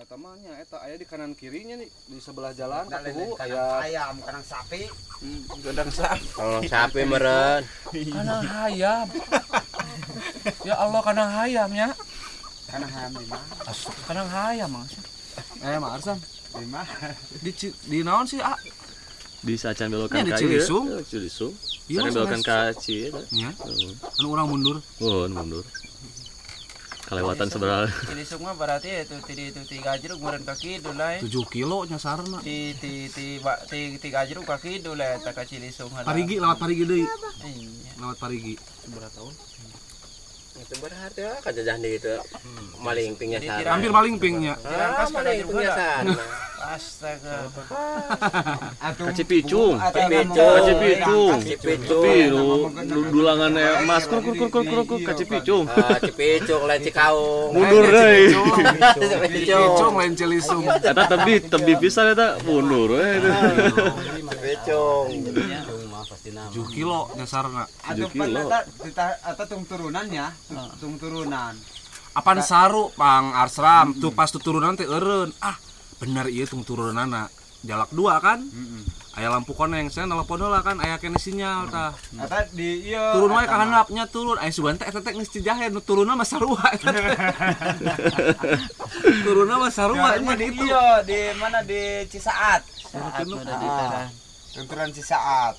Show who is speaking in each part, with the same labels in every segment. Speaker 1: eta mah nya eta aya di kanan kirinya nih di sebelah jalan
Speaker 2: Nah,
Speaker 1: katuhu
Speaker 2: lain-lain kandang
Speaker 1: aya
Speaker 2: ayam kandang sapi
Speaker 3: Gendang sapi.
Speaker 4: Kalau sapi meren.
Speaker 1: kanang hayam. ya Allah kanang hayamnya.
Speaker 2: kandang ayam di mana
Speaker 1: Asup kanang hayam Mas. Eh Mas Arsam,
Speaker 2: di mana
Speaker 1: di Ci- di naon sih? Ah,
Speaker 5: Di sacan belokan
Speaker 1: Ini ada
Speaker 5: ka
Speaker 1: Cilisung.
Speaker 5: ieu. Eh, Cilisung.
Speaker 1: Iya,
Speaker 5: Sacan belokan
Speaker 1: Mas.
Speaker 5: ka Cie.
Speaker 1: nya. Anu urang mundur.
Speaker 5: Oh, mundur. Kelewatan seberapa?
Speaker 6: Jadi semua berarti itu ti itu tiga jeruk meren kaki dulai.
Speaker 1: 7 kilo nya sarna.
Speaker 6: Ti ti ti ba- ti tiga jeruk kaki dulai tak kecil isung halah.
Speaker 1: Parigi lewat Parigi deui,
Speaker 6: Iya.
Speaker 1: lewat Parigi. Seberapa tahun?
Speaker 4: Itu berarti ya kejajah di itu
Speaker 2: Hmm.
Speaker 4: maling pingnya
Speaker 6: Jadi
Speaker 4: sana.
Speaker 6: tiram-
Speaker 1: Hampir maling pingnya.
Speaker 4: Ah, maling pingnya sana.
Speaker 6: Astaga.
Speaker 2: atau
Speaker 5: Kaci picung.
Speaker 4: Kaci Iya,
Speaker 5: picung. Tapi lu
Speaker 2: Kacipicung.
Speaker 5: lu dulangan emas kur kur kur kur kur kur kaci picung.
Speaker 4: Ah, cipicung lain
Speaker 1: Iya,
Speaker 4: cikaung.
Speaker 5: Mundur eh. deui.
Speaker 1: Picong lain Cilisung.
Speaker 5: Eta tebi tebi pisan eta mundur eh. we.
Speaker 4: Cipicung.
Speaker 1: 7 kilo nya sarna.
Speaker 2: atau
Speaker 5: Tujuh kilo.
Speaker 2: pada atau tung turunannya tung turunan
Speaker 1: Apaan saru Pang Arsram tuh pas tuturunan teh eureun. Ah, bener ieu tung turunanna. Jalak dua kan? Aya lampu koneng, saya nelpon heula kan aya kene sinyal tah.
Speaker 2: atau di iya
Speaker 1: Turun wae ka handapnya turun. Aya sugan teh eta teh geus cijahe nu turunna mah sarua eta teh. Turunna mah sarua
Speaker 2: Turunannya
Speaker 1: nya
Speaker 2: di
Speaker 1: ditu.
Speaker 2: iya di mana di Cisaat
Speaker 6: Saat udah di
Speaker 2: Ah, Tunturan Cisaat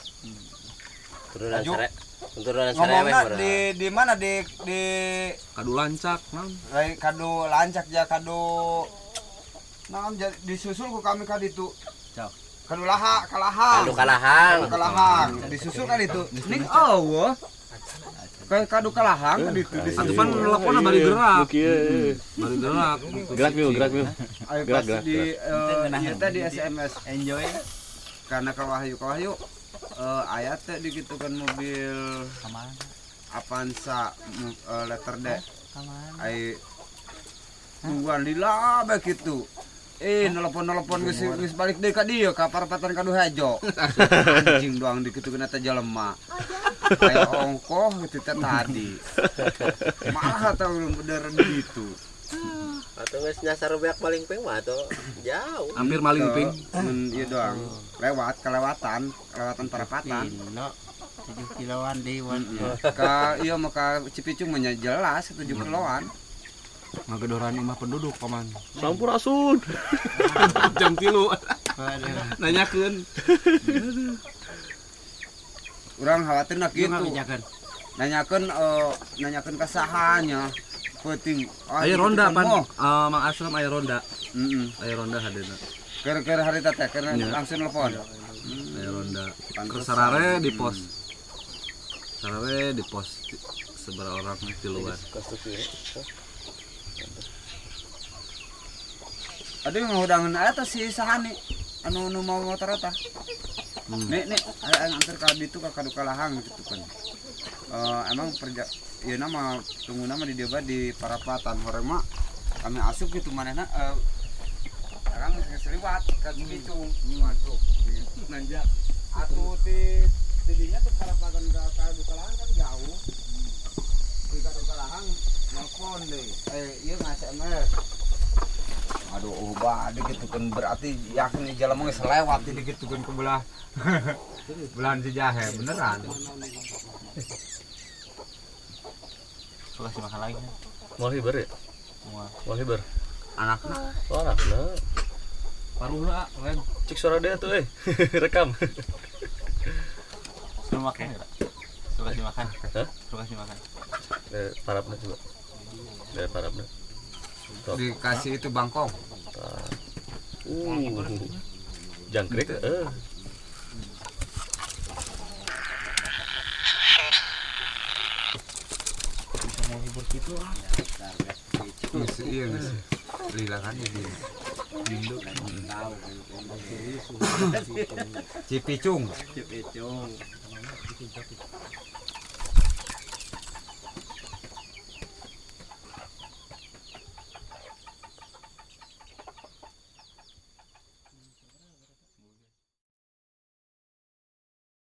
Speaker 4: Turunan sere. Turunan sereweh
Speaker 2: ngomongnya
Speaker 4: meren.
Speaker 2: di di mana di di
Speaker 1: Kadu lancak naon?
Speaker 2: lain kado lancak ya kado nah disusul ku kami kadi itu
Speaker 1: Cak.
Speaker 2: kado laha kalahang
Speaker 4: Kadu kalahang.
Speaker 2: Kado kalahang disusul kan itu ning eueuh Kayak kado kalahang kadi itu
Speaker 1: Atupan nelponna bari gerak. Hmm. Bari gerak.
Speaker 5: eh. Gerak mil, gerak mil.
Speaker 2: Ayo
Speaker 5: Gerak,
Speaker 2: pas
Speaker 5: gerak,
Speaker 2: di eh, ieu teh di SMS enjoy karena ka Wahyu ka Wahyu eh, aya teh digitukeun mobil Avanza mu- eh, letter D. Ai tungguan lila bae kitu. Eh, nelpon-nelpon geus geus balik deui ka dieu ka parapatan ka Duhajo. Anjing doang dikitukeun teh jelema. Kayak ongkoh gitu teh tadi. Malah teh ulun bener gitu.
Speaker 4: Atau geus nyasar beak maling ping mah atuh. Jauh.
Speaker 1: Hampir maling ping.
Speaker 2: Men, iya doang. Lewat, kelewatan, kelewatan perapatan.
Speaker 6: Kilo. Tujuh kiloan di wan.
Speaker 2: Ka iya mah ka Cipicung mah nya jelas 7 kiloan.
Speaker 1: Ngagedoran imah penduduk paman.
Speaker 5: Sampurasun.
Speaker 1: Jam 3 nanyakeun.
Speaker 2: Urang khawatirna kitu.
Speaker 6: Jangan.
Speaker 2: Nanyakeun eh, nanyakeun ka sahanya. Penting. Ah,
Speaker 1: Ayo
Speaker 2: itu
Speaker 1: ronda
Speaker 2: kan
Speaker 1: pan.
Speaker 2: moh.
Speaker 1: Eh, Mang Asram ayo ronda.
Speaker 2: Heeh.
Speaker 1: Ayo ronda hadeuna.
Speaker 2: Keur-keur hari teh teh keur langsung telepon.
Speaker 1: Ayo ronda. Ke
Speaker 2: Pantesan.
Speaker 1: sarare di pos. Sarare di pos Ti- seberapa orang di luar.
Speaker 2: Aduh ngahudangeun aya teh si Sahani. Anu nu mau motor eta. Nih nih aya antar ka ditu ka Kadukalahan gitu kan. Eh, emang perja ieu nama tunggu nama di dieu bae di Parapatan horeng mah kami asup gitu manehna eh sekarang geus keseliwat ka Cipicung. Hmm. Masuk. Nanjak. Atuh ti di dinya tuh Parapatan ka Kadukalahan kan jauh. Di Kadukalahan nelpon deui. Eh ieu ngas-SMS. Aduh, ubah gitu kan berarti yakin jalan mau selewat di gitu kan kebelah belahan sejahe beneran.
Speaker 6: Sulah si makan lagi.
Speaker 5: Mau hiber ya? Mau hiber.
Speaker 2: Anaknya
Speaker 5: Wah, Oh, nah.
Speaker 1: Paruhna lain.
Speaker 5: Cek suara dia tuh, eh. Rekam.
Speaker 6: Suruh makan. Suruh kasih makan.
Speaker 5: Hah?
Speaker 6: Suruh kasih makan.
Speaker 5: Dari parapna coba. Dari parapna.
Speaker 2: dikasih itu bangkong.
Speaker 5: Uh. Jangkrik. Eh.
Speaker 2: Ngisi, iya ngisi. Lila kan jadi Bindo. Cipicung. Cipicung.